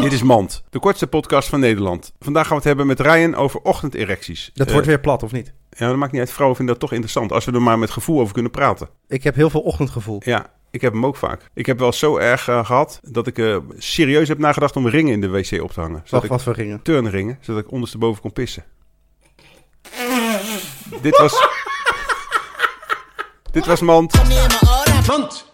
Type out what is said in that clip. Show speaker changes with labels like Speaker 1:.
Speaker 1: Dit is Mand, de kortste podcast van Nederland. Vandaag gaan we het hebben met Ryan over ochtenderecties.
Speaker 2: Dat
Speaker 1: Eh,
Speaker 2: wordt weer plat, of niet?
Speaker 1: Ja, dat maakt niet uit. Vrouwen vinden dat toch interessant als we er maar met gevoel over kunnen praten.
Speaker 2: Ik heb heel veel ochtendgevoel.
Speaker 1: Ja, ik heb hem ook vaak. Ik heb wel zo erg eh, gehad dat ik eh, serieus heb nagedacht om ringen in de wc op te hangen. Zodat
Speaker 2: Wacht,
Speaker 1: ik
Speaker 2: wat voor ringen?
Speaker 1: turnringen, zodat ik ondersteboven kon pissen. dit was... dit was Mand.